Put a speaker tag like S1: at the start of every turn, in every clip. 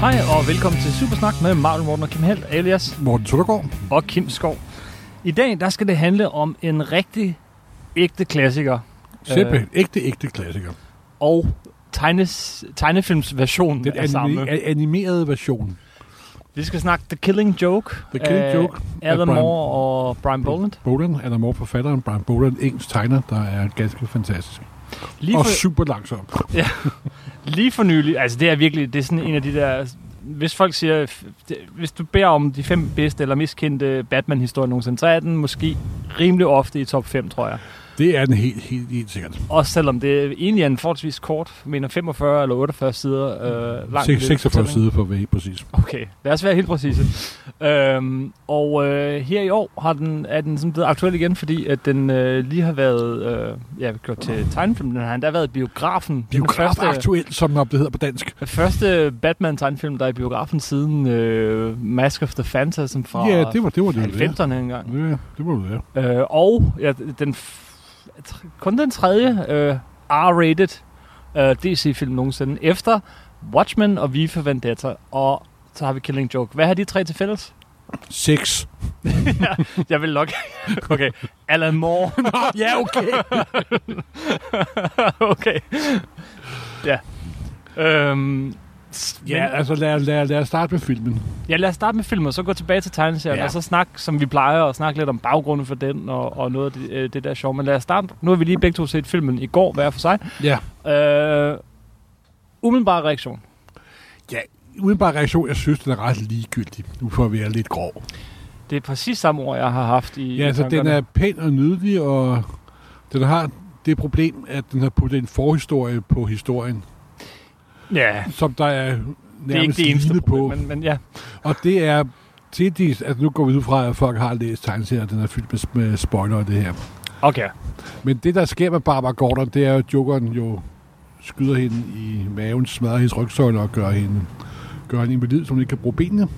S1: Hej og velkommen til Supersnak med Marvel Morten og Kim Helt, alias
S2: Morten Søndergaard.
S1: og Kim Skov. I dag der skal det handle om en rigtig ægte klassiker
S2: Simpelthen. Øh. Ægte, ægte klassiker.
S1: og tegnes, tegnefilmsversion
S2: Den
S1: af samme.
S2: anime- a- animerede version.
S1: Vi skal snakke The Killing Joke.
S2: The Killing
S1: af
S2: Joke af
S1: Alan
S2: Brian-
S1: Moore og Brian Boland.
S2: Bolan, Alan Moore, forfatteren, Brian Bolan, engelsk tegner, der er ganske fantastisk.
S1: Lige
S2: Og
S1: for,
S2: super langsom.
S1: lige for nylig, altså det er virkelig, det er sådan en af de der... Hvis folk siger, f- det- hvis du beder om de fem bedste eller mest kendte Batman-historier nogensinde, så er den måske rimelig ofte i top 5, tror jeg.
S2: Det er den helt, helt, helt sikkert.
S1: Også selvom det egentlig er en forholdsvis kort, jeg mener 45 eller 48 sider øh, lang.
S2: Seks- 46
S1: fortælling.
S2: Mm. sider på vej, præcis.
S1: Okay, lad os være helt præcise. øhm, og øh, her i år har den, er den sådan blevet aktuel igen, fordi at den øh, lige har været øh, ja, gjort til tegnefilm. Den har endda været i biografen. Det er
S2: Biograf
S1: Den første,
S2: aktuelt, som det hedder på dansk.
S1: den første Batman-tegnefilm, der er i biografen siden øh, Mask of the Phantasm fra
S2: Ja, det var det, var det ville være.
S1: 90'erne engang.
S2: Ja, det må det være.
S1: Øh, og ja, den f- tr- kun den tredje øh, R-rated øh, DC-film nogensinde. Efter Watchmen og V for Vendetta. Og så har vi Killing Joke. Hvad har de tre til fælles?
S2: Seks.
S1: Jeg vil nok... Okay, Alan Moore.
S2: ja, okay.
S1: okay. Ja. Øhm, s-
S2: ja,
S1: men-
S2: altså lad, lad, lad os starte med filmen.
S1: ja, lad os starte med filmen, og så gå tilbage til tegneserien, ja.
S2: Ja.
S1: og så snakke, som vi plejer, og snakke lidt om baggrunden for den, og, og noget af det, øh, det der sjov. Men lad os starte. Nu har vi lige begge to set filmen i går, hver for sig.
S2: Ja.
S1: Øh, umiddelbar reaktion.
S2: Ja, uden bare reaktion, jeg synes, den er ret ligegyldig. Nu får vi være lidt grov.
S1: Det er præcis samme ord, jeg har haft i
S2: Ja,
S1: i
S2: altså den
S1: tankerne.
S2: er pæn og nydelig, og den har det problem, at den har puttet en forhistorie på historien,
S1: Ja,
S2: som der er
S1: det er ikke
S2: nærmest
S1: det eneste
S2: lignet på.
S1: problem, men, men ja.
S2: Og det er til de, altså nu går vi ud fra, at folk har læst tegneserier, den er fyldt med, med spoiler og det her.
S1: Okay.
S2: Men det, der sker med Barbara Gordon, det er jo, at jokeren jo skyder hende i maven, smadrer hendes rygsøjle og gør hende, gør hende invalid, så hun ikke kan bruge benene.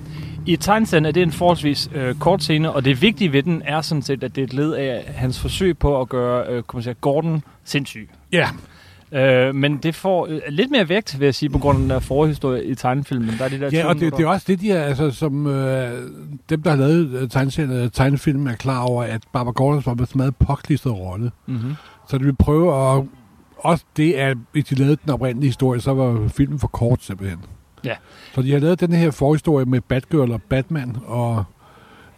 S1: I tegneserien er det en forholdsvis øh, kort scene, og det vigtige ved den er sådan set, at det er et led af hans forsøg på at gøre øh, kommissær Gordon sindssyg.
S2: Ja,
S1: Øh, men det får øh, lidt mere vægt, vil jeg sige, på grund af den der forhistorie i tegnefilmen. Der er de der
S2: Ja,
S1: 20
S2: og det,
S1: minutter.
S2: det er også det, de er, altså, som øh, dem, der har lavet øh, tegneserien eller tegnefilm, er klar over, at Barbara Gordon var en meget påklistret rolle.
S1: Mhm.
S2: Så de vil prøve at... Også det, at hvis de lavede den oprindelige historie, så var filmen for kort simpelthen.
S1: Ja.
S2: Så de har lavet den her forhistorie med Batgirl og Batman, og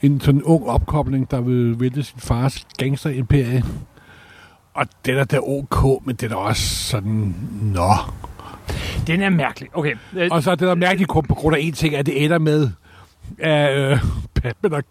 S2: en sådan ung opkobling, der vil vælte sin fars gangsterimperie. Og den er da ok, men den er også sådan, nå.
S1: Den er mærkelig. Okay. Øh,
S2: Og så er det der mærkeligt kun på grund af en ting, at det ender med, at øh, Batman og,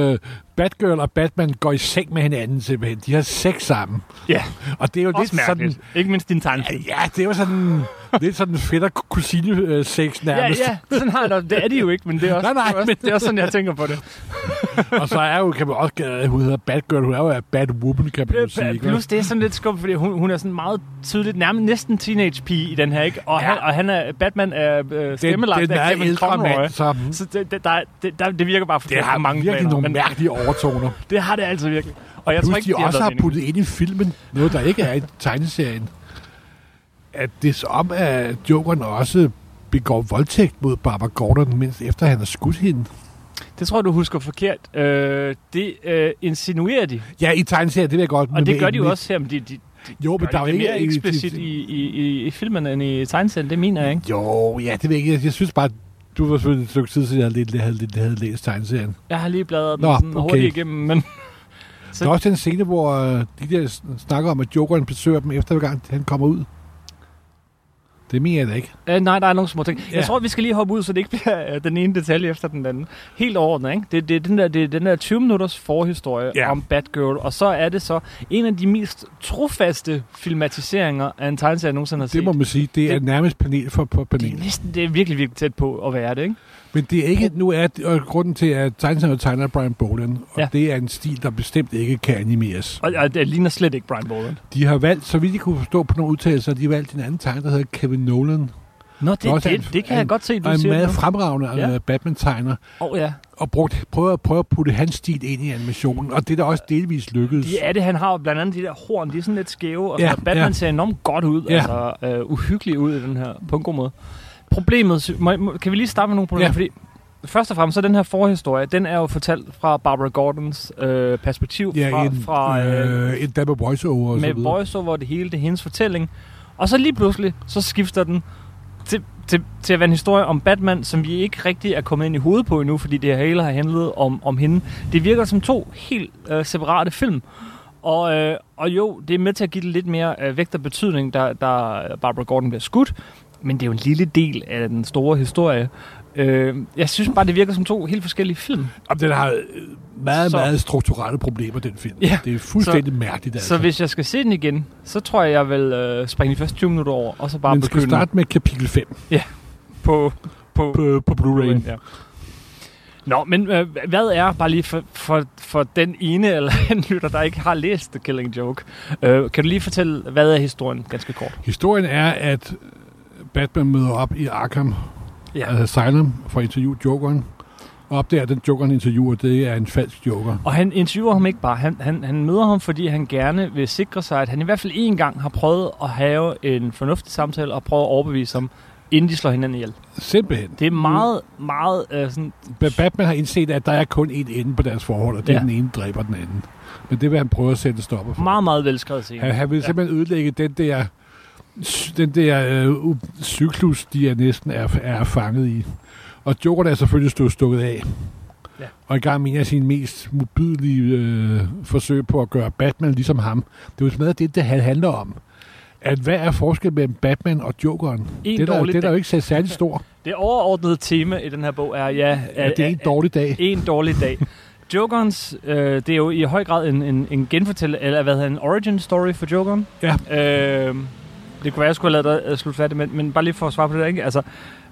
S2: øh, Batgirl og Batman går i seng med hinanden simpelthen. De har sex sammen.
S1: ja,
S2: Og det er jo
S1: også
S2: lidt
S1: mærkeligt.
S2: sådan...
S1: Sådan... Ikke mindst din tegnefilm.
S2: Ja, det er jo sådan lidt sådan fætter kusine øh, sex
S1: Ja,
S2: nærmest.
S1: ja, sådan har jeg det. Det er de jo ikke, men det er også,
S2: Nej, nej,
S1: det er også,
S2: men-
S1: det er også sådan, jeg tænker på det.
S2: Og så er jo, kan man også gætte, at hun hedder Batgirl. Hun er jo Batwoman, kan man jo sige.
S1: Øh,
S2: Ikke?
S1: Plus det er sådan lidt skumt, fordi hun, hun er sådan meget tydeligt, nærmest næsten teenage pige i den her, ikke? Og, ja.
S2: Ja.
S1: han, og han er, Batman er øh, stemmelagt
S2: den, den
S1: af
S2: er
S1: Kevin
S2: ældre
S1: Conroy.
S2: mand, så
S1: Så det, det, der, det, der, det virker bare for
S2: det har
S1: mange
S2: virkelig
S1: planer,
S2: nogle
S1: men
S2: mærkelige overtoner.
S1: det har det altså virkelig. Og jeg
S2: Plus,
S1: tror ikke,
S2: de også har
S1: været
S2: puttet ind i filmen noget, der ikke er i tegneserien. At det er som om, at Jokeren også begår voldtægt mod Barbara Gordon, mens efter han har skudt hende.
S1: meningen. Det tror jeg, du husker forkert. Øh, det øh, insinuerer de,
S2: Ja, i tegneserien, det vil jeg godt.
S1: og det gør de jo
S2: men-
S1: også her, men de, de, de
S2: Jo, men
S1: gør
S2: der er jo
S1: det
S2: ikke...
S1: mere eksplicit i, i, i, i filmen end i tegneserien, det mener jeg ikke.
S2: Jo, ja, det ved jeg ikke. Jeg synes bare, du var selvfølgelig et stykke tid siden, jeg havde, lidt- havde, havde, havde læst tegneserien.
S1: Jeg har lige bladret den
S2: Nå,
S1: sådan
S2: okay.
S1: hurtigt igennem, men Så-
S2: Der er også den scene, hvor øh, de der sn- snakker om, at Jokeren besøger dem efter, hver gang han kommer ud. Det mener jeg da ikke.
S1: Øh, nej, der er nogle små ting. Ja.
S2: Ja.
S1: Jeg tror, vi skal lige hoppe ud, så det ikke bliver øh, den ene detalje efter den anden. Helt overordnet, ikke? Det, det, er den der, det er den der 20 minutters forhistorie ja.
S2: Ja.
S1: om Batgirl, og så er det så en af de mest trofaste filmatiseringer af en tegneserie, jeg nogensinde har set.
S2: Det må man sige. Det er
S1: Det-
S2: nærmest panel for, for
S1: det,
S2: panel.
S1: er næsten, det er virkelig, virkelig tæt på at være det, ikke?
S2: Men det er ikke, nu er det, og grunden til, at tegneserier tegner Brian Boland, og
S1: Ja.
S2: ja. det er en stil, der bestemt ikke kan animeres.
S1: Og, og det ligner slet ikke Brian Boland.
S2: De har valgt, så vidt jeg kunne forstå på nogle udtalelser, de har valgt en anden tegner, der hedder Kevin Nolan,
S1: Nå, det, det,
S2: også
S1: det,
S2: en-
S1: det kan jeg
S2: en-
S1: godt se, du
S2: og en
S1: siger
S2: meget
S1: det
S2: fremragende
S1: Ja.
S2: ja. Batman-tegner,
S1: nu. Åh, ja.
S2: og brugt, prøvet, at, prøvet at putte hans stil ind i animationen, og det er da også delvis lykkedes.
S1: De er det, han har jo blandt andet de der horn, de er sådan lidt skæve, og
S2: Ja,
S1: ja, Batman ja.
S2: ja.
S1: ser enormt godt ud, ja.
S2: Ja.
S1: altså øh, uhyggelig ud i den her, på en god måde. problemet, sy- må, må, kan vi lige starte med nogle problemer?
S2: Ja.
S1: Ja. Fordi først og fremmest, så den her forhistorie, den er jo fortalt fra Barbara Gordons øh, perspektiv,
S2: Ja,
S1: fra,
S2: en,
S1: fra øh,
S2: øh, en der med voiceover og så
S1: med
S2: videre.
S1: voiceover og det hele, det er hendes fortælling. Og så lige pludselig, så skifter den til, til, til at være en historie om Batman, som vi ikke rigtig er kommet ind i hovedet på endnu, fordi det hele har handlet om, om hende. Det virker som to helt øh, separate film. Og, øh, og jo, det er med til at give det lidt mere øh, vægt og betydning, da, da Barbara Gordon bliver skudt. Men det er jo en lille del af den store historie. Øh, jeg synes bare, det virker som to helt forskellige film.
S2: Jamen, den har øh, meget,
S1: Så-
S2: meget strukturelle problemer, den film.
S1: Ja.
S2: Det er fuldstændig så, mærkeligt. altså.
S1: Så hvis jeg skal se den igen, så tror jeg, jeg vil øh, springe de første 20 minutter over, og så bare
S2: Men skal vi
S1: begynde
S2: starte med kapitel 5
S1: på, på,
S2: på, på Blu-ray.
S1: Ja. Nå, men øh, hvad er, bare lige for, for, for den ene eller anden lytter, der ikke har læst The Killing Joke, øh, kan du lige fortælle, hvad er historien ganske kort?
S2: Historien er, at Batman møder op i Arkham ja.
S1: Øh.
S2: Asylum for at interviewe Jokeren. Og opdager, at den Jokeren interviewer, det er en falsk Joker.
S1: Og han interviewer ham ikke bare, han, han, han møder ham, fordi han gerne vil sikre sig, at han i hvert fald én gang har prøvet at have en fornuftig samtale og prøve at overbevise ham, inden de slår hinanden ihjel.
S2: Simpelthen.
S1: Det er meget, meget øh, sådan,
S2: Ba- Batman har indset, at der er kun én ende på deres forhold, og det ja.
S1: Ja.
S2: er den ene, der dræber den anden. Men det vil han prøve at sætte en stopper for.
S1: meget, meget velskrevet scene.
S2: Han, han vil
S1: Ja.
S2: simpelthen ødelægge den der den der øh, u- cyklus, de er næsten er, er fanget i. Og Jokeren er selvfølgelig stået stukket af.
S1: Ja.
S2: Og i gang med en af sine mest modbydelige øh, forsøg på at gøre Batman ligesom ham. Det er jo smadret det, det han handler om. At hvad er forskellen mellem Batman og Jokeren?
S1: En
S2: Det er, der,
S1: dårlig
S2: det er der
S1: dag.
S2: jo ikke så særlig stor.
S1: Det overordnede tema i den her bog er, ja,
S2: Ja, det er en dårlig dag.
S1: en dårlig dag. Jokerens, øh, det er jo i høj grad en, en, en genfortæl, eller hvad hedder en origin story for Jokeren.
S2: Ja.
S1: Øh, det kunne være, jeg skulle have lavet øh, dig slut færdigt, men, men bare lige for at svare på det der, ikke? Altså,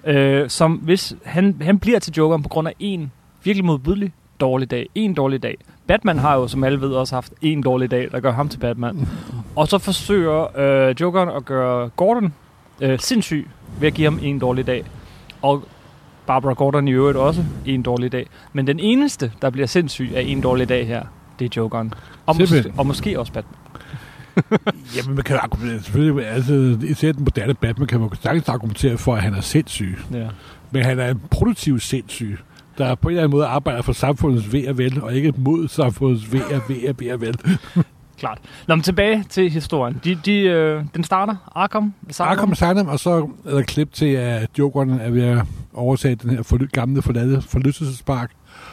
S1: øh, som hvis han, han bliver til Jokeren på grund af en virkelig modbydelig dårlig dag. En dårlig dag. Batman har jo, som alle ved, også haft en dårlig dag, der gør ham til Batman. Og så forsøger øh, Jokeren at gøre Gordon øh, sindssyg ved at give ham en dårlig dag. Og Barbara Gordon i øvrigt også en dårlig dag. Men den eneste, der bliver sindssyg af en dårlig dag her, det er Jokeren. Og, mås-
S2: Simpelthen.
S1: og måske også Batman.
S2: Jamen, man kan jo argumentere, selvfølgelig, altså, især den moderne Batman kan man jo sagtens argumentere for, at han er sindssyg.
S1: Ja.
S2: Men han er en produktiv sindssyg, der på en eller anden måde arbejder for samfundets ved og vel, og ikke mod samfundets ved og ved og ved og vel.
S1: Klart. Nå, men tilbage til historien. De, de, øh, den starter Arkham.
S2: Så er kommet Sanam, og så er der klip til, at Jokeren er ved at overtage den her forly- gamle forladte forlystelsespark.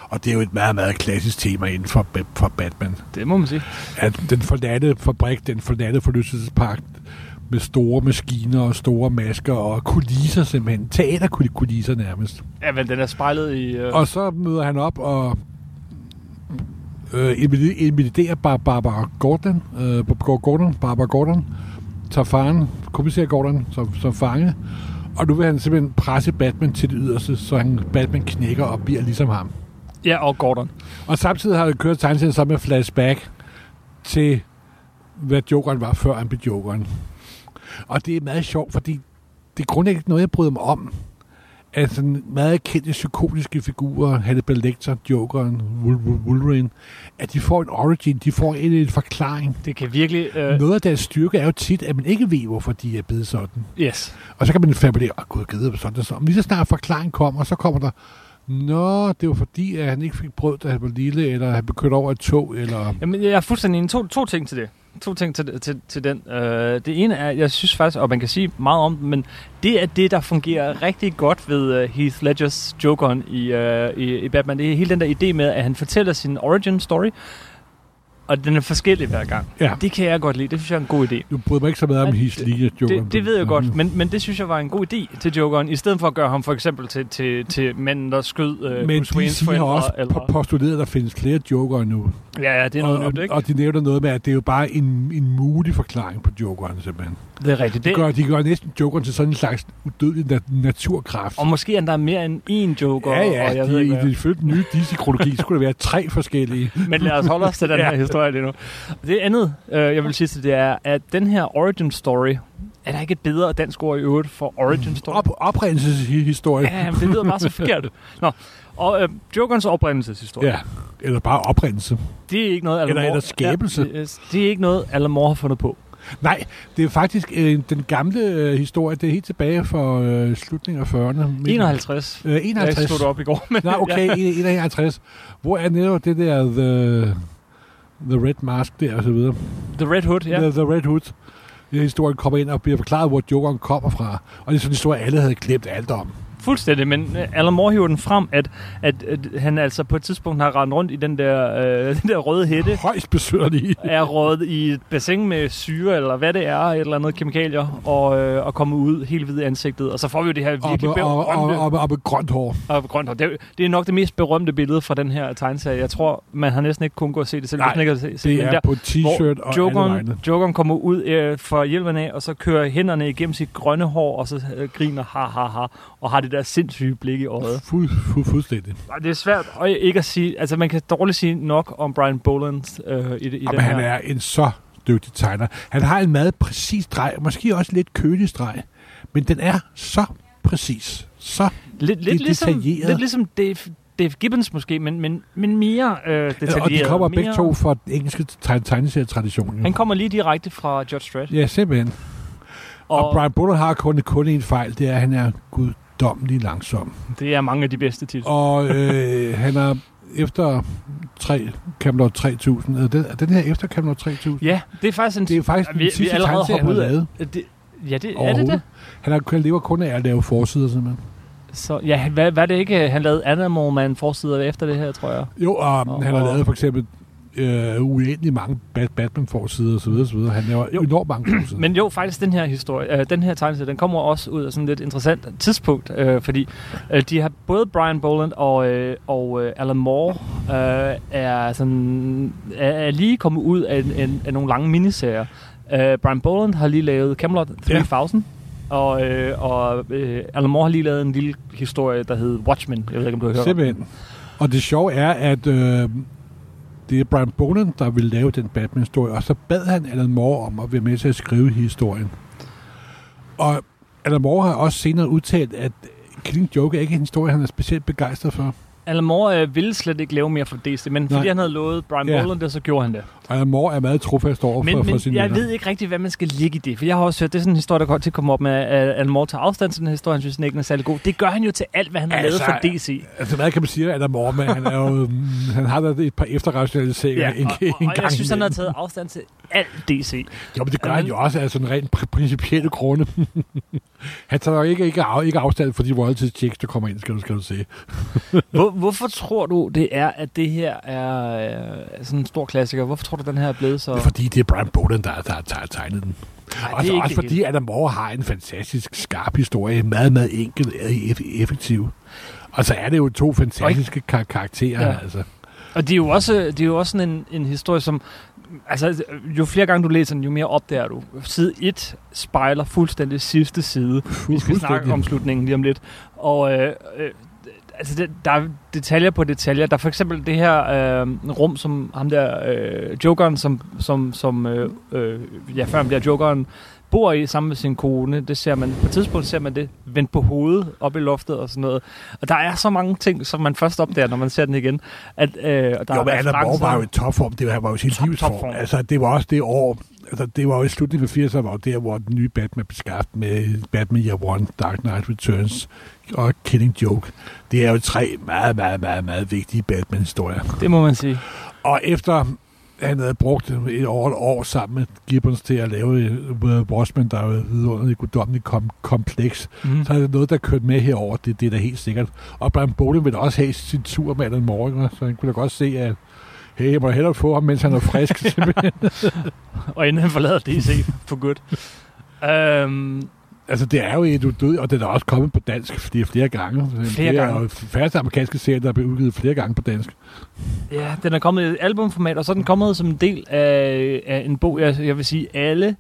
S2: Og det er jo et meget, meget klassisk tema inden for, Ba- for Batman.
S1: Det må man sige.
S2: At den forladte fabrik, den forladte forlystelsespark, med store maskiner og store masker og kulisser simpelthen. Teaterkulisser nærmest.
S1: Ja, men den er spejlet i... Øh,
S2: Og så møder han op og øh, invali- invaliderer Bar- Barbara Gordon, øh, Barbara Gordon, Barbara Gordon, tager faren, kommissær Gordon, som, som fange, og nu vil han simpelthen presse Batman til det yderste, så han, Batman knækker og bliver ligesom ham.
S1: ja, og Gordon.
S2: Og samtidig har han kørt tegneserien sammen med flashback til, hvad Jokeren var, før han blev Jokeren. Og det er meget sjovt, fordi det er grundlæggende noget, jeg bryder mig om. At sådan meget kendte psykotiske figurer, Hannibal Lecter, Jokeren, Wol- Wol- Wolverine, at de får en origin, de får en, en forklaring.
S1: Det kan virkelig... Øh,
S2: Noget af deres styrke er jo tit, at man ikke ved, hvorfor de er blevet sådan.
S1: yes.
S2: Og så kan man fabulere, åh gud, gider sådan og sådan. Men Lige så snart forklaringen kommer, så kommer der, Nå, det var fordi, at han ikke fik brød, da han var lille, eller han blev kørt over et tog, eller...
S1: Jamen, jeg er fuldstændig enig. To, to ting til det. To ting til, til, til den. Øh, det ene er, jeg synes faktisk, og man kan sige meget om den, men det er det, der fungerer rigtig godt ved øh, Heath Ledgers Jokeren i, øh, i, i Batman. Det er hele den der idé med, at han fortæller sin origin story, og den er forskellig hver gang.
S2: Ja.
S1: Det kan jeg godt lide. Det synes jeg er en god idé.
S2: Nu bryder mig ikke så meget om
S1: Nej,
S2: his
S1: det-
S2: lige Joker. Mm.
S1: Det, det ved jeg godt, øh, men, men det synes jeg var en god idé til Jokeren, i stedet for at gøre ham for eksempel til, til, til manden, der skød øh,
S2: Men
S1: Bruce
S2: de
S1: Wayne's
S2: siger
S1: forældre.
S2: også
S1: eller,
S2: po- postuleret, at der findes flere Joker nu.
S1: ja, ja, det er noget
S2: og,
S1: nyt, ikke?
S2: og, og de nævner noget med, at det er jo bare en, en mulig forklaring på Jokeren, simpelthen.
S1: det er rigtigt.
S2: De
S1: Det,
S2: gør, de gør næsten Jokeren til sådan en slags udødelig nat- naturkraft.
S1: Og måske er der mere end én joker.
S2: ja, ja,
S1: og jeg
S2: de,
S1: ved ikke,
S2: i-
S1: hvad.
S2: ifølge den nye DC-kronologi skulle der være tre forskellige.
S1: Men lad os holde os til den her historie lige nu. Det andet, øh, jeg vil sige til det er, at den her origin story, er der ikke et bedre dansk ord i øvrigt for origin story?
S2: Op, oprindelseshistorie.
S1: Ja, men det lyder bare så forkert. Nå, og øh, Jokerens oprindelseshistorie,
S2: Ja, eller bare oprindelse.
S1: det er ikke noget, Alan
S2: Eller-
S1: Moore- øh,
S2: eller skabelse.
S1: Ja, det, det er ikke noget, Alan Moore har fundet på.
S2: Nej, det er faktisk øh, den gamle øh, historie. Det er helt tilbage fra øh, slutningen af 40'erne. midten-
S1: 51.
S2: Øh,
S1: Jeg
S2: 51.
S1: slog det op i går. Men
S2: Nej, okay, 51. Hvor er netop det der The, the Red Mask der og så videre?
S1: The Red Hood, ja.
S2: The, the Red Hood. Ja, historien kommer ind og bliver forklaret, hvor jokeren kommer fra. Og det er sådan en historie, alle havde glemt alt om.
S1: Fuldstændig, men øh, Alan Moore hiver den frem, at, at, at han altså på et tidspunkt har rendt rundt i den der, øh, den der røde hætte,
S2: Højst besøgerlige.
S1: er rådet i et bassin med syre, eller hvad det er, et eller andet kemikalier, og, øh, og kommet ud helt hvid i ansigtet. Og så får vi jo det her
S2: Og med,
S1: virkelig
S2: og, og,
S1: berømte...
S2: og, med, og med grønt hår.
S1: Og grønt hår. Det, er jo- det er nok det mest berømte billede fra den her tegneserie. Jeg tror, man har næsten ikke kun gået og se det selv.
S2: Nej,
S1: hvis man ikke har set- set
S2: Det
S1: den
S2: er
S1: der,
S2: på t-shirt og alle vegne.
S1: Jokeren, Jokeren kommer ud øh, fra hjelmen af, og så kører hænderne igennem sit grønne hår, og så øh, griner ha ha ha, og har det der sindssyge blik i øjet.
S2: Fuld, fuld, fuldstændig.
S1: Og det er svært og ikke at sige, altså man kan dårligt sige nok om Brian Boland øh, i, det- i
S2: Og
S1: den her.
S2: han er en så dygtig tegner. Han har en meget præcis streg, måske også lidt kølig streg, men den er så præcis. Så
S1: Lidt,
S2: Det
S1: lidt,
S2: er
S1: ligesom,
S2: detaljeret.
S1: lidt ligesom Dave, Dave Gibbons måske, men, men, men mere øh, detaljeret.
S2: og de kommer
S1: mere,
S2: begge to fra den engelske teg- tegneserietradition. jo.
S1: Han kommer lige direkte fra George Strait.
S2: Ja, simpelthen. Og, og
S1: og
S2: Brian Buller har kun, kun en fejl, det er, at han er guddommelig langsom.
S1: det er mange af de bedste titler.
S2: Og øh, han er efter 3, Camelot 3000, er den, er den her efter Camelot 3000?
S1: Ja, det er faktisk en...
S2: Det er faktisk den
S1: vi, vi
S2: sidste
S1: allerede
S2: tegneserie, han
S1: hoppet
S2: har
S1: ud af.
S2: lavet
S1: Det, ja, det, er det
S2: overhovedet.
S1: det?
S2: Han har, han lever kun af at lave forsider, simpelthen.
S1: Så, ja, han- hvad, hvad er det ikke? Han lavede Animal Man forsider efter det her, tror jeg.
S2: Jo, og
S1: Og-
S2: han har
S1: og-
S2: lavet for eksempel øh, uendelig mange Bat- Batman-forsider osv. osv. Han laver
S1: Jo.
S2: jo. enormt mange forsider.
S1: Men jo, faktisk den her historie, øh, den her tegneserie, den kommer også ud af sådan et lidt interessant tidspunkt, øh, fordi øh, de har både Brian Boland og, øh, og øh, Alan Moore øh, er, sådan, er, er lige kommet ud af, en, en, af nogle lange miniserier. Øh, Brian Boland har lige lavet Camelot 3000. Og, øh, og øh, Alan Moore har lige lavet en lille historie, der hed Watchmen. Jeg ved ikke, om du har hørt om den.
S2: Simpelthen. Og det sjove er, at øh, det er Brian Bonan, der ville lave den Batman-historie, og så bad han Alan Moore om at være med til at skrive historien. Og Alan Moore har også senere udtalt, at Killing Joke er ikke en historie, han er specielt begejstret for.
S1: Alan Moore øh, ville slet ikke lave mere for DC, men Nej.
S2: Nej.
S1: fordi han havde lovet Brian
S2: Ja.
S1: yeah. Boland det, så gjorde han det.
S2: Og Alan Moore er meget trofast over for,
S1: Men,
S2: for
S1: men
S2: sine
S1: jeg
S2: venner.
S1: ved ikke rigtig, hvad man skal ligge i det, for jeg har også hørt, det er sådan en historie, der godt til at komme op med, at Alan Moore tager afstand til den her historie, han synes, den ikke er særlig god. Det gør han jo til alt, hvad han har
S2: Altså,
S1: lavet for DC.
S2: Altså, hvad kan man sige, at Alan Moore, men han, er jo, mm, han har da et par efterrationaliseringer ja, en,
S1: og, og,
S2: en
S1: og
S2: gang
S1: jeg synes, han har
S2: imellem.
S1: taget afstand til alt DC.
S2: Jo, men det gør han jo også af sådan rent pri- principielle grunde. han tager nok ikke, ikke, af, ikke afstand for de royalties checks, der kommer ind, skal du, skal du se.
S1: Hvor, hvorfor tror du, det er, at det her er øh, sådan en stor klassiker? Hvorfor tror du, den her er blevet så...
S2: Det er fordi, det er Brian Boland, der, der, der har tegnet den.
S1: Ej,
S2: Og
S1: det
S2: så
S1: er ikke det
S2: også
S1: hele.
S2: fordi, Adam Moore har en fantastisk skarp historie, meget, meget enkel og eff- effektiv. Og så er det jo to fantastiske kar- karakterer, ja.
S1: Ja.
S2: altså.
S1: Og det er jo også, det er jo også sådan en, en historie, som... Altså, jo flere gange du læser den, jo mere opdager du. Side 1 spejler fuldstændig sidste side.
S2: Fu-
S1: Vi skal snakke
S2: fuldstændig.
S1: om slutningen lige om lidt. Og øh, øh, altså, det, der er detaljer på detaljer. Der er for eksempel det her øh, rum, som ham der øh, jokeren, som, som, som øh, øh, ja, før han bliver jokeren, bor i sammen med sin kone. Det ser man, på et tidspunkt ser man det vendt på hovedet op i loftet og sådan noget. Og der er så mange ting, som man først opdager, når man ser den igen. At, øh, og der
S2: Jo, men
S1: er
S2: Adam Moore
S1: referencer.
S2: var jo i topform. Det var, han var jo i sin
S1: Top-
S2: livsform.
S1: topform.
S2: Altså, det var også det år... Altså, det var jo i slutningen af 80'erne, var jo der, hvor den nye Batman blev skabt med Batman Year One, Dark Knight Returns og Killing Joke. Det er jo tre meget, meget, meget, meget vigtige Batman-historier.
S1: Det må man sige.
S2: Og efter han havde brugt et år, et år sammen med Gibbons til at lave øh, Watchmen, der er jo et vidunderligt guddommeligt kom- kompleks,
S1: Mm.
S2: så er det noget, der kørte med herover. Det, det er da helt sikkert. Og Brian Bolin ville også have sin tur med Alan Moore, ikke? så han kunne da godt se, at hey, jeg må hellere få ham, mens han er frisk. simpelthen.
S1: Og inden han forlader DC for godt. Øhm,
S2: altså, det er jo et udød, og den er også kommet på dansk flere, flere gange.
S1: Flere
S2: det er
S1: gange.
S2: jo færreste amerikanske serie, der er blevet udgivet flere gange på dansk.
S1: Ja, den er kommet i et albumformat, og så er den kommet som en del af, af en bog, jeg, jeg vil sige, alle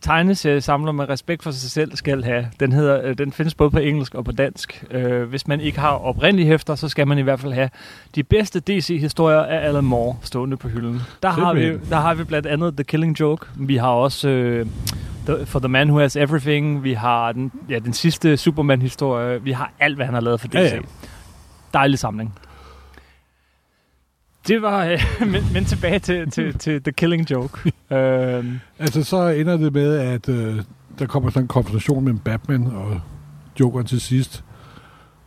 S1: tegneseriesamler med respekt for sig selv skal have. Den, hedder, øh, den findes både på engelsk og på dansk. Øh, hvis man ikke har oprindelige hæfter, så skal man i hvert fald have de bedste DC-historier af Alan Moore stående på hylden. Der har, vi,
S2: Simpelthen.
S1: der har vi blandt andet The Killing Joke. Vi har også øh, the, For The Man Who Has Everything. Vi har den, ja, den sidste Superman-historie. Vi har alt, hvad han har lavet for DC.
S2: Ja,
S1: Ja,
S2: ja.
S1: ja. Dejlig samling. Det var... Øh, men, men tilbage til, til, til The Killing Joke. Øh,
S2: Altså, så ender det med, at øh, der kommer sådan en konfrontation mellem Batman og Joker til sidst.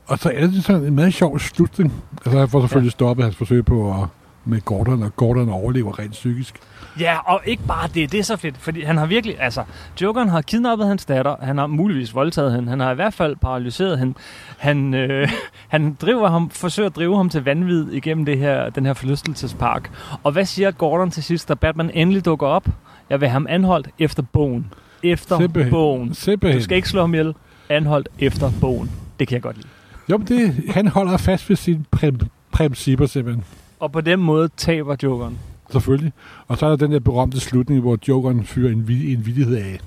S2: Og så er det sådan en meget sjov slutning. Altså, han får selvfølgelig ja. stoppet hans forsøg på at med Gordon, og Gordon overlever rent psykisk.
S1: ja, og ikke bare det. Det er så fedt, fordi han har virkelig... Altså, Jokeren har kidnappet hans datter. Han har muligvis voldtaget hende. Han har i hvert fald paralyseret hende. Han, øh, han driver ham, forsøger at drive ham til vanvid igennem det her, den her forlystelsespark. Og hvad siger Gordon til sidst, da Batman endelig dukker op? Jeg vil have ham anholdt efter bogen. Efter
S2: Simpelthen.
S1: bogen.
S2: Simpelthen.
S1: Du skal ikke slå ham ihjel. Anholdt efter bogen. Det kan jeg godt lide.
S2: Jo, men det, han holder fast ved sine præm- principper simpelthen.
S1: Og på den måde taber Jokeren.
S2: Selvfølgelig. Og så er der den der berømte slutning, hvor Jokeren fyrer en, vid- en vidighed af.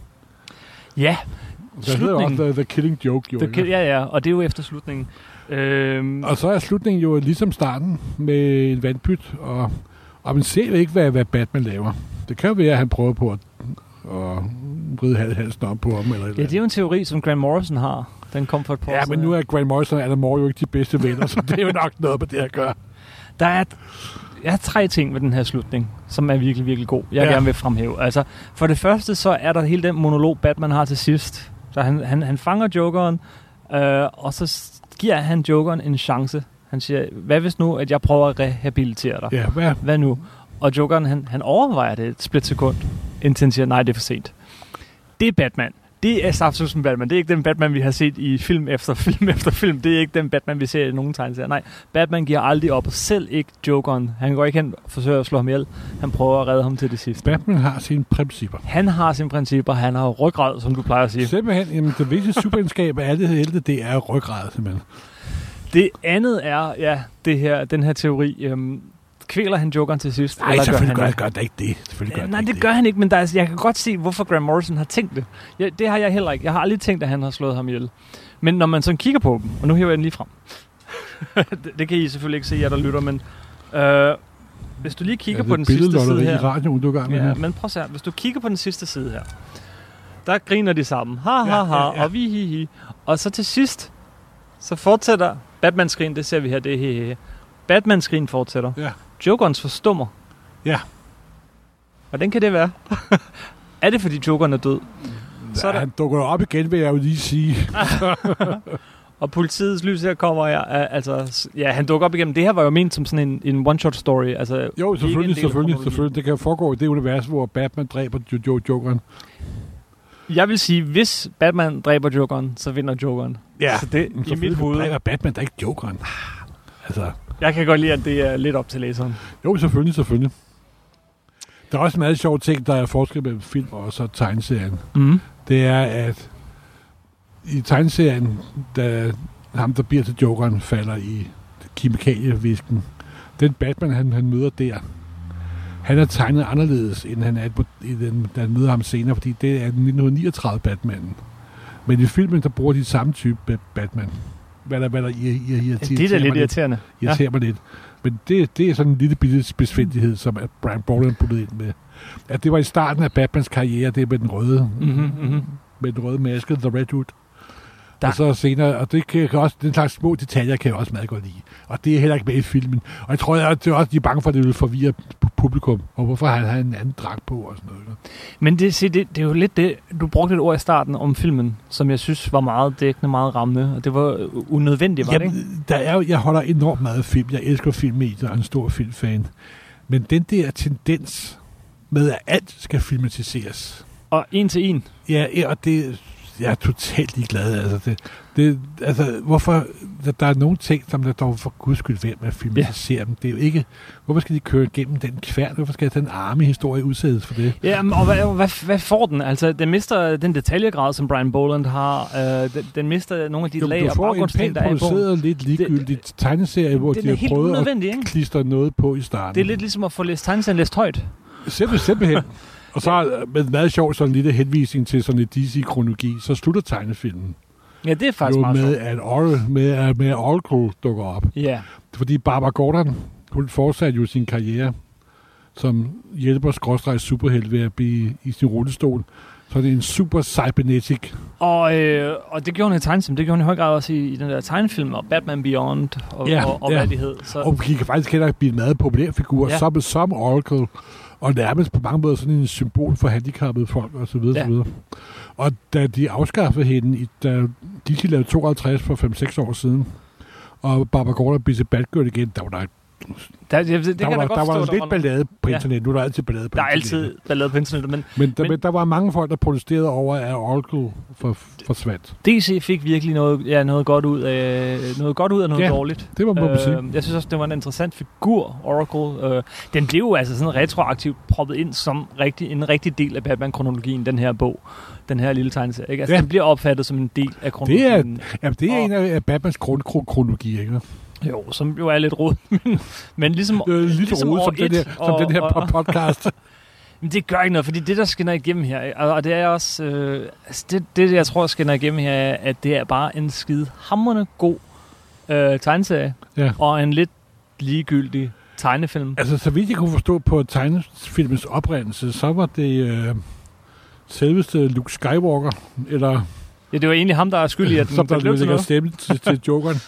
S1: Ja,
S2: Der hedder
S1: Slutningen.
S2: også The, the Killing Joke, jo.
S1: det kan,
S2: ikke?
S1: ja, ja, og det er jo efter slutningen. Øhm,
S2: Og så er slutningen jo ligesom starten med en vandpyt, og, og man ser jo ikke, hvad, hvad Batman laver. Det kan jo være, at han prøver på at, at vride hal- halsen om på ham. Eller et
S1: ja,
S2: eller
S1: det er jo en teori, som Grant Morrison har. Den kom for et par
S2: andet.
S1: år
S2: ja, men
S1: siden.
S2: nu er Grant Morrison og Alan Moore jo ikke de bedste venner, så det er jo nok noget på det at gøre.
S1: Der er, jeg har tre ting ved den her slutning, som er virkelig, virkelig god. Jeg
S2: Ja.
S1: ja. gerne vil fremhæve. Altså, for det første, så er der hele den monolog, Batman har til sidst. Så han, han, han fanger Jokeren, øh, og så s- giver han Jokeren en chance. Han siger, hvad hvis nu, at jeg prøver at rehabilitere dig?
S2: Ja, hvad?
S1: hvad nu? Og Jokeren, han, han overvejer det et splitsekund, indtil han siger, nej, det er for sent. Det er Batman. Det er Saftsusen Batman. Det er ikke den Batman, vi har set i film efter film efter film. Det er ikke den Batman, vi ser i nogen tegneserier. Nej, Batman giver aldrig op. Selv ikke Jokeren. Han går ikke hen og forsøger at slå ham ihjel. Han prøver at redde ham til det sidste.
S2: Batman har sine principper.
S1: Han har sine principper. Han har ryggrad, som du plejer at sige.
S2: Simpelthen, jamen, det vigtigste supervidenskab af alle helte, det er ryggrad, simpelthen.
S1: Det andet er, ja, det her, den her teori. Øhm, kvæler han Jokeren til sidst?
S2: Nej,
S1: eller
S2: selvfølgelig gør,
S1: det?
S2: gør det ikke det. Selvfølgelig gør
S1: Ja,
S2: det
S1: nej,
S2: ikke
S1: det gør han ikke, men der er, jeg kan godt se, hvorfor Graham Morrison har tænkt det. Ja, det har jeg heller ikke. Jeg har aldrig tænkt, at han har slået ham ihjel. Men når man sådan kigger på dem, og nu hiver jeg den lige frem. det, det kan I selvfølgelig ikke se, jer der lytter, men øh, hvis du lige kigger
S2: ja,
S1: på den sidste side
S2: Det er
S1: her.
S2: i radioen, du er i gang med.
S1: Ja,
S2: her.
S1: men prøv at se her. Hvis du kigger på den sidste side her, der griner de sammen. Ha, ha,
S2: Ja,
S1: ha,
S2: ja, ja.
S1: og vi, hi, hi. Og så til sidst, så fortsætter Batmans grin, det ser vi her, det er he, he, he. Batmans grin fortsætter.
S2: Ja.
S1: Jokerens forstummer.
S2: Ja.
S1: Hvordan kan det være? er det, fordi Jokeren er død? Så er
S2: Ja,
S1: der-
S2: han dukker op igen, vil jeg jo lige sige.
S1: Og politiets lys her kommer, ja, altså, s- ja, han dukker op igennem. Det her var jo ment som sådan en, en one-shot story. Altså,
S2: Jo,
S1: Ikke en
S2: selvfølgelig,
S1: del af
S2: selvfølgelig,
S1: kronologien.
S2: selvfølgelig. Det kan foregå i det univers, hvor Batman dræber jo- jo- Jokeren.
S1: jeg vil sige, hvis Batman dræber Jokeren, så vinder Jokeren. Så det,
S2: Men
S1: i mit
S2: selvfølgelig
S1: hoved,
S2: dræber Batman da ikke Jokeren. Altså,
S1: Jeg kan godt lide, at det er lidt op til læseren.
S2: jo, selvfølgelig, selvfølgelig. Der er også en meget sjov ting, der er forskel mellem film og så tegneserien.
S1: Mm.
S2: Det er, at i tegneserien, da ham, der bliver til Jokeren, falder i kemikalievisken. Den Batman, han, han møder der, han er tegnet anderledes, end han er, på, i den, da han møder ham senere, fordi det er den 1939-Batmanden. Men i filmen, der bruger de samme type ba- Batman. Hvad der, hvad der ir, ir, ir,
S1: Ja, det er da lidt irriterende.
S2: irriterer ja. mig lidt. Men det, det er sådan en lille bitte besvindelighed, som at Brian Bolland puttede ind med. At det var i starten af Batmans karriere, det med den røde,
S1: Mm-hmm, mm-hmm.
S2: med den røde maske, The Red Hood.
S1: Der-
S2: Der. Og så senere, og det kan jeg også, den slags små detaljer kan jeg også meget godt lide. Og det er heller ikke med i filmen. Og jeg tror, at det er også, de er bange for, at det vil forvirre pu- publikum. Og hvorfor han har en anden dragt på og sådan noget. ikke?
S1: Men det, se, det, det er jo lidt det, du brugte et ord i starten om filmen, som jeg synes var meget dækkende, meget rammende, og det var øh, unødvendigt, var det ikke?
S2: Jamen, der er jo, jeg holder enormt meget af film. Jeg elsker filmmediet og er en stor filmfan. Men den der tendens med, at alt skal filmatiseres,
S1: Og en til en.
S2: Ja, ja, og det, jeg er totalt ligeglad. Altså, det, det, altså hvorfor, der, der er nogle ting, som der dog for guds skyld ved med at filmatisere ja. dem. Det er jo ikke, hvorfor skal de køre igennem den kværn? Hvorfor skal den arme historie udsættes for det?
S1: Ja, og hvad, hvad, hvad får den? Altså, den mister den detaljegrad, som Brian Boland har. Øh, den, den mister nogle af de
S2: Jo,
S1: lag
S2: du
S1: og
S2: får en
S1: baggrundsting,
S2: pænt
S1: der er i bogen.
S2: produceret og lidt ligegyldigt tegneserie, hvor
S1: Den
S2: de
S1: er
S2: har
S1: helt
S2: prøvet at
S1: unødvendig, ikke?
S2: klistre noget på i starten.
S1: Det er lidt ligesom at få læst tegneserien læst højt.
S2: Simpel, simpelthen. og så er- med en meget sjov sådan en lille henvisning til sådan et DC-kronologi, så slutter tegnefilmen
S1: Ja, det er faktisk
S2: jo
S1: meget
S2: med,
S1: sjovt.
S2: at Or- med, at- med at Oracle dukker op.
S1: Ja,
S2: Fordi Barbara Gordon, hun fortsatte jo sin karriere som hjælper skråstrejs superhelt ved at blive i sin rullestol. Så det er en super cybernetic.
S1: Og, øh, og det gjorde hun i tegnefilm. Det gjorde hun i høj grad også i, i den der tegnefilm, og Batman Beyond, og,
S2: Ja,
S1: og, og
S2: ja.
S1: hvad de hed. Så,
S2: Og vi kan faktisk heller ikke blive en meget populær figur,
S1: Ja.
S2: ja. som, som Oracle, og nærmest på mange måder sådan en symbol for handicappede folk osv.
S1: Ja.
S2: Ja. Og da de afskaffede hende, i, da de lavede 52 for 5-6 år siden, og Barbara blev til Batgirl igen, der var der,
S1: der, det, det, det
S2: der,
S1: kan
S2: var,
S1: jeg da godt
S2: der var
S1: forstå,
S2: jo lidt
S1: der, var,
S2: ballade på
S1: Ja.
S2: internettet. Nu er der altid ballade på
S1: der er
S2: internettet.
S1: altid ballade på internettet, men
S2: Men der,
S1: Men-
S2: men der var mange folk, der protesterede over, at Oracle for, forsvandt.
S1: DC fik virkelig noget, ja, noget godt ud af noget, godt ud af noget
S2: Ja.
S1: dårligt. Øhm,
S2: Det var man øh, sige.
S1: jeg synes også, det var en interessant figur, Oracle. Øh, den blev jo altså sådan retroaktivt proppet ind som rigtig, en rigtig del af Batman-kronologien, den her bog. Den her lille tegneserie. Ikke? Altså,
S2: Ja.
S1: Den bliver opfattet som en del af kronologien. Det
S2: Jamen, det er
S1: Øh, og-
S2: en af af Batmans grundkronologi, ikke?
S1: er... Jo, som jo er lidt rodet. Men, men ligesom,
S2: Det er lidt ligesom rodet, som,
S1: år
S2: den her,
S1: et
S2: som den her po- podcast.
S1: Men det gør ikke noget, fordi det, der skinner igennem her, ikke? og og det er også, øh, altså det, det, jeg tror skinner igennem her, er, at det er bare en skide hammerende god øh, tegneserie,
S2: Ja.
S1: og en lidt ligegyldig tegnefilm.
S2: altså, så vidt jeg kunne forstå på tegnefilmens oprindelse, så var det øh, selveste Luke Skywalker, eller
S1: Ja, det var egentlig ham, der er skyldig, at den,
S2: som
S1: den
S2: der
S1: blev til
S2: lægger
S1: noget.
S2: stemme til, til Jokeren.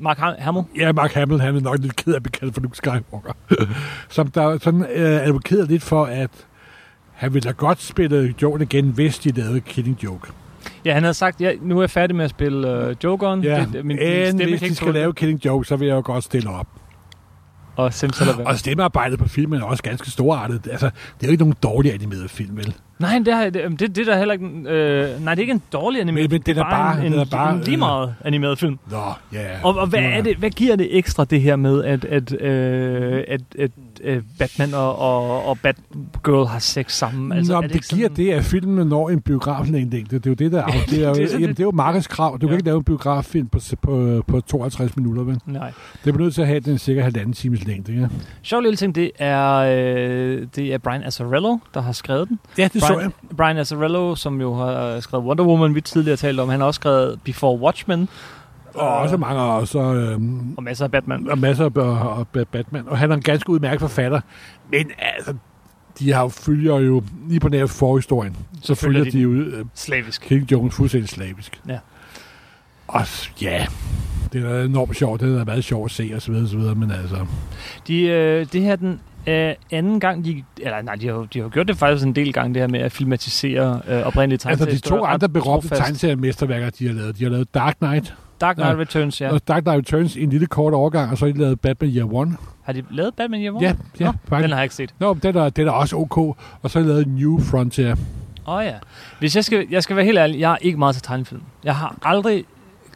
S1: Mark Ham- Hamill.
S2: Ja, Mark Hamill, han er nok lidt ked af at blive kaldt for Luke Skywalker. som der sådan øh, advokerede lidt for, at han ville da godt spille Jokeren igen, hvis de lavede Killing Joke.
S1: Ja, han havde sagt, ja, nu er jeg færdig med at spille øh, Jokeren.
S2: Ja,
S1: Det-
S2: det,
S1: det-
S2: min,
S1: min
S2: men hvis
S1: kan
S2: de
S1: ikke
S2: skal
S1: tåle
S2: lave
S1: det.
S2: Killing Joke, så vil jeg jo godt stille op.
S1: Og Simsalabim.
S2: Og stemmearbejdet på filmen er også ganske storartet. Altså, det er jo ikke nogen dårlig animeret film, vel?
S1: Nej, det, har, det, det, det er der heller ikke... en- Øh, nej, det er ikke en dårlig animeret
S2: Men- men den er bare-
S1: en,
S2: den er bare,
S1: en lige
S2: øh,
S1: meget animeret film.
S2: Nå, ja.
S1: Og, og hvad,
S2: det var-
S1: er det, hvad giver det ekstra, det her med, at, at, øh, at, at øh, Batman og, og, og Batgirl har sex sammen?
S2: Altså, Nå,
S1: er
S2: det,
S1: ikke
S2: det giver
S1: sådan-
S2: det, at filmen når en biograflængdelængde. Det er jo det, der er, det er,
S1: Det er
S2: jo, det
S1: sådan
S2: er, jamen,
S1: lidt-
S2: det er jo markedskrav. Du ja.
S1: Ja.
S2: kan ikke lave en biograffilm på, på, på 52 minutter, vel?
S1: Nej.
S2: Det er nødt til at have den cirka halvanden times længde, ikke?
S1: Sjov lille ting, det er, øh, det er Brian Azzarello, der har skrevet den.
S2: Ja, det
S1: Brian, Brian Azzarello, som jo har skrevet Wonder Woman, vi tidligere talte om, han har også skrevet Before Watchmen.
S2: Og også mange, og så øhm,
S1: Og masser af Batman.
S2: og masser af og, og Ba- Batman. Og han er en ganske udmærket forfatter. Men altså, de har jo, følger jo lige på nær forhistorien. Så
S1: følger
S2: følger
S1: de
S2: de jo øh,
S1: Slavisk.
S2: King Jones fuldstændig slavisk.
S1: Ja.
S2: Og s- ja, det er da enormt sjovt. Det har da været sjovt at se, og så videre, og så videre. Men altså,
S1: De, øh, det her er den øh, anden gang, de, eller nej, de har, jo- de har jo gjort det faktisk en del gange, det her med at filmatisere øh, oprindelige
S2: altså de
S1: tegneserier.
S2: to andre berømte
S1: trofast.
S2: tegneseriemesterværker, de har lavet. De har lavet Dark Knight,
S1: Dark Knight
S2: Ja.
S1: Returns,
S2: ja.
S1: ja.
S2: og Dark Knight Returns i en lille kort overgang, og så har de lavet Batman Year One.
S1: Har de lavet Batman Year One?
S2: Ja, ja,
S1: Nå, Den
S2: faktisk.
S1: har jeg ikke set.
S2: Nå, men den er, den er også ok. Og så har de lavet New Frontier.
S1: Åh oh, ja. Hvis jeg skal, jeg skal være helt ærlig, jeg er ikke meget til tegnefilm. Jeg har aldrig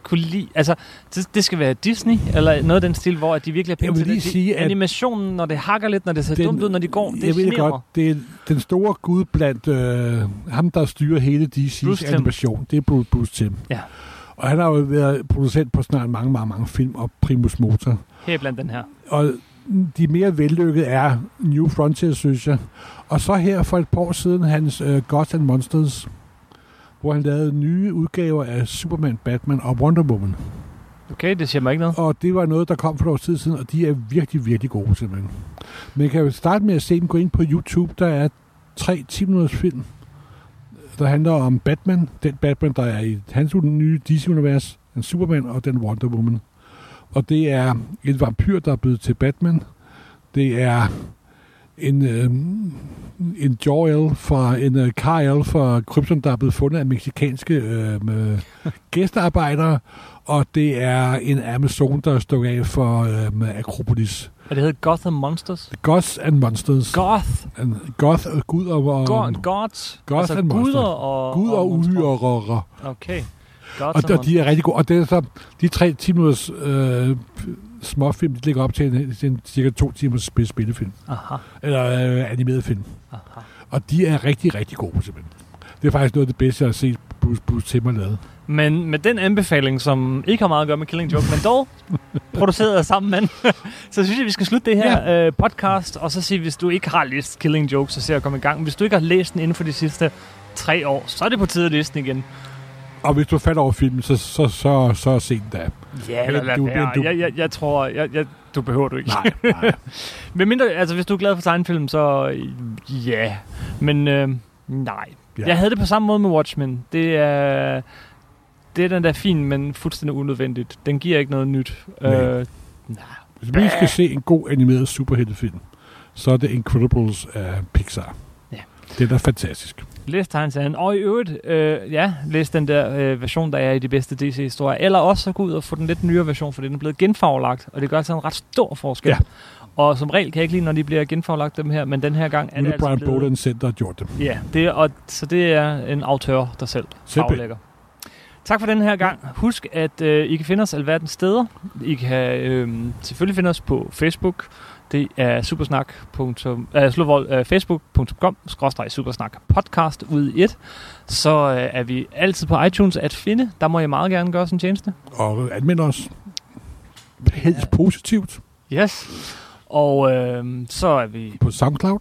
S1: kunne lide... Altså, det, det skal være Disney, eller noget af den stil, hvor at de virkelig er
S2: Jeg
S1: pænt
S2: vil
S1: til
S2: lige
S1: det. De-
S2: sige, at-
S1: Animationen, når det hakker lidt, når det ser
S2: Den-
S1: dumt ud, når de går, det
S2: jeg ved det
S1: generer
S2: godt, det er den store gud blandt øh, ham, der styrer hele DC's
S1: Bruce Timm.
S2: animation. Det er Bruce, Bruce Timm.
S1: Ja.
S2: Og han har jo været producent på snart mange, mange, mange film og primus motor.
S1: mig. Her blandt den her.
S2: Og de mere vellykkede er New Frontier, synes jeg. Og så her for et par år siden, hans øh, Gods and Monsters, hvor han lavede nye udgaver af Superman, Batman og Wonder Woman.
S1: Okay, det siger mig ikke noget.
S2: Og det var noget, der kom for et års tid siden, og de er virkelig, virkelig gode simpelthen. Man kan jo starte med at se dem gå ind på YouTube. Der er tre 10 minutters film, der handler om Batman. Den Batman, der er i hans nye DC-univers, den Superman og den Wonder Woman. Og det er en vampyr, der er blevet til Batman. Det er en, øh, en Jor-El fra en øh, Kar-El fra Krypton, der er blevet fundet af meksikanske øh, med gæstearbejdere. Og det er en Amazon, der er stukket af for øh, Akropolis.
S1: Og det hedder Gotham Monsters.
S2: Gods and Monsters.
S1: Goth.
S2: And Goth og Gud og... og
S1: God, gods.
S2: Gods
S1: altså
S2: and monsters.
S1: guder og...
S2: Gud og
S1: monstre.
S2: uhyre. Og, og,
S1: Okay. Gods
S2: og,
S1: and
S2: og de er rigtig gode. Og det er så, de tre 10 minutters øh, småfilm, de ligger op til en, til en cirka to timers spil, spillefilm.
S1: monsters. Aha,
S2: Eller øh, animeret film.
S1: aha.
S2: Og de er rigtig, rigtig gode simpelthen. Det er faktisk noget af det bedste, jeg har set Bruce, Bruce Timmer lave.
S1: Men med den anbefaling, som ikke har meget at gøre med Killing Joke, men dog produceret af samme mand, så synes jeg, vi skal slutte det her ja. øh, podcast, og så sige, hvis du ikke har læst Killing Joke, så se at komme i gang. Hvis du ikke har læst den inden for de sidste tre år, så er det på tide at læse den igen.
S2: Og hvis du falder over filmen, så, så, så, så se den da.
S1: Ja,
S2: eller lad være.
S1: Jeg, jeg, jeg tror, jeg, jeg, du behøver du ikke.
S2: Nej, nej.
S1: Men mindre, altså hvis du er glad for tegnefilm, så øh, ja. Men øh, nej,
S2: Ja.
S1: Ja. Jeg havde det på samme måde med Watchmen. Det er, det er den der fin, men fuldstændig unødvendigt. Den giver ikke noget nyt.
S2: Nej.
S1: Øh,
S2: Hvis vi skal se en god animeret superheltefilm, så er det Incredibles af Pixar.
S1: Ja.
S2: Det er da fantastisk.
S1: læs tegneserien. Og i øvrigt, øh, ja, læs den der øh, version, der er i de bedste DC-historier. Eller også så gå ud og få den lidt nyere version, for den er blevet genfarvelagt, og det gør altså en ret stor forskel.
S2: Ja.
S1: Og som regel kan jeg ikke lide, når de bliver genfarvelagt, dem her, men den her gang er
S2: Nu
S1: det
S2: er det Brian
S1: altså blevet...
S2: Bolden selv, der har gjort det.
S1: Ja, det er, og, så det er en autør, der selv
S2: Simpelthen.
S1: aflægger. Tak for den her gang. Husk, at øh, I kan finde os alverdens steder. I kan øh, selvfølgelig finde os på Facebook. Det er supersnak. Øh, slutvold, øh, facebook.com supersnak podcast ud i et. Så øh, er vi altid på iTunes at finde. Der må jeg meget gerne gøre sådan en tjeneste.
S2: Og anmeld os helst positivt
S1: Yes. Og øh, så er vi
S2: på SoundCloud.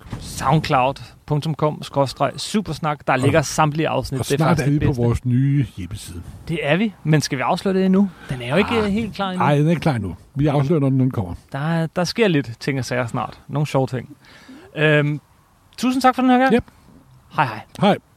S1: soundcloud.com supersnak. Der ligger samtlige afsnit.
S2: Og snart
S1: faktisk
S2: er vi
S1: det
S2: på
S1: bedste.
S2: vores nye hjemmeside.
S1: Det er vi, men skal vi afsløre det endnu? Den er jo ikke
S2: Ah,
S1: ah, helt klar endnu.
S2: Nej, den er ikke klar nu. Vi afslører, når den kommer.
S1: Der, der sker lidt ting og sager snart. Nogle sjove ting. Øhm, tusind tak for den her gang.
S2: Yep.
S1: Hej hej.
S2: Hej.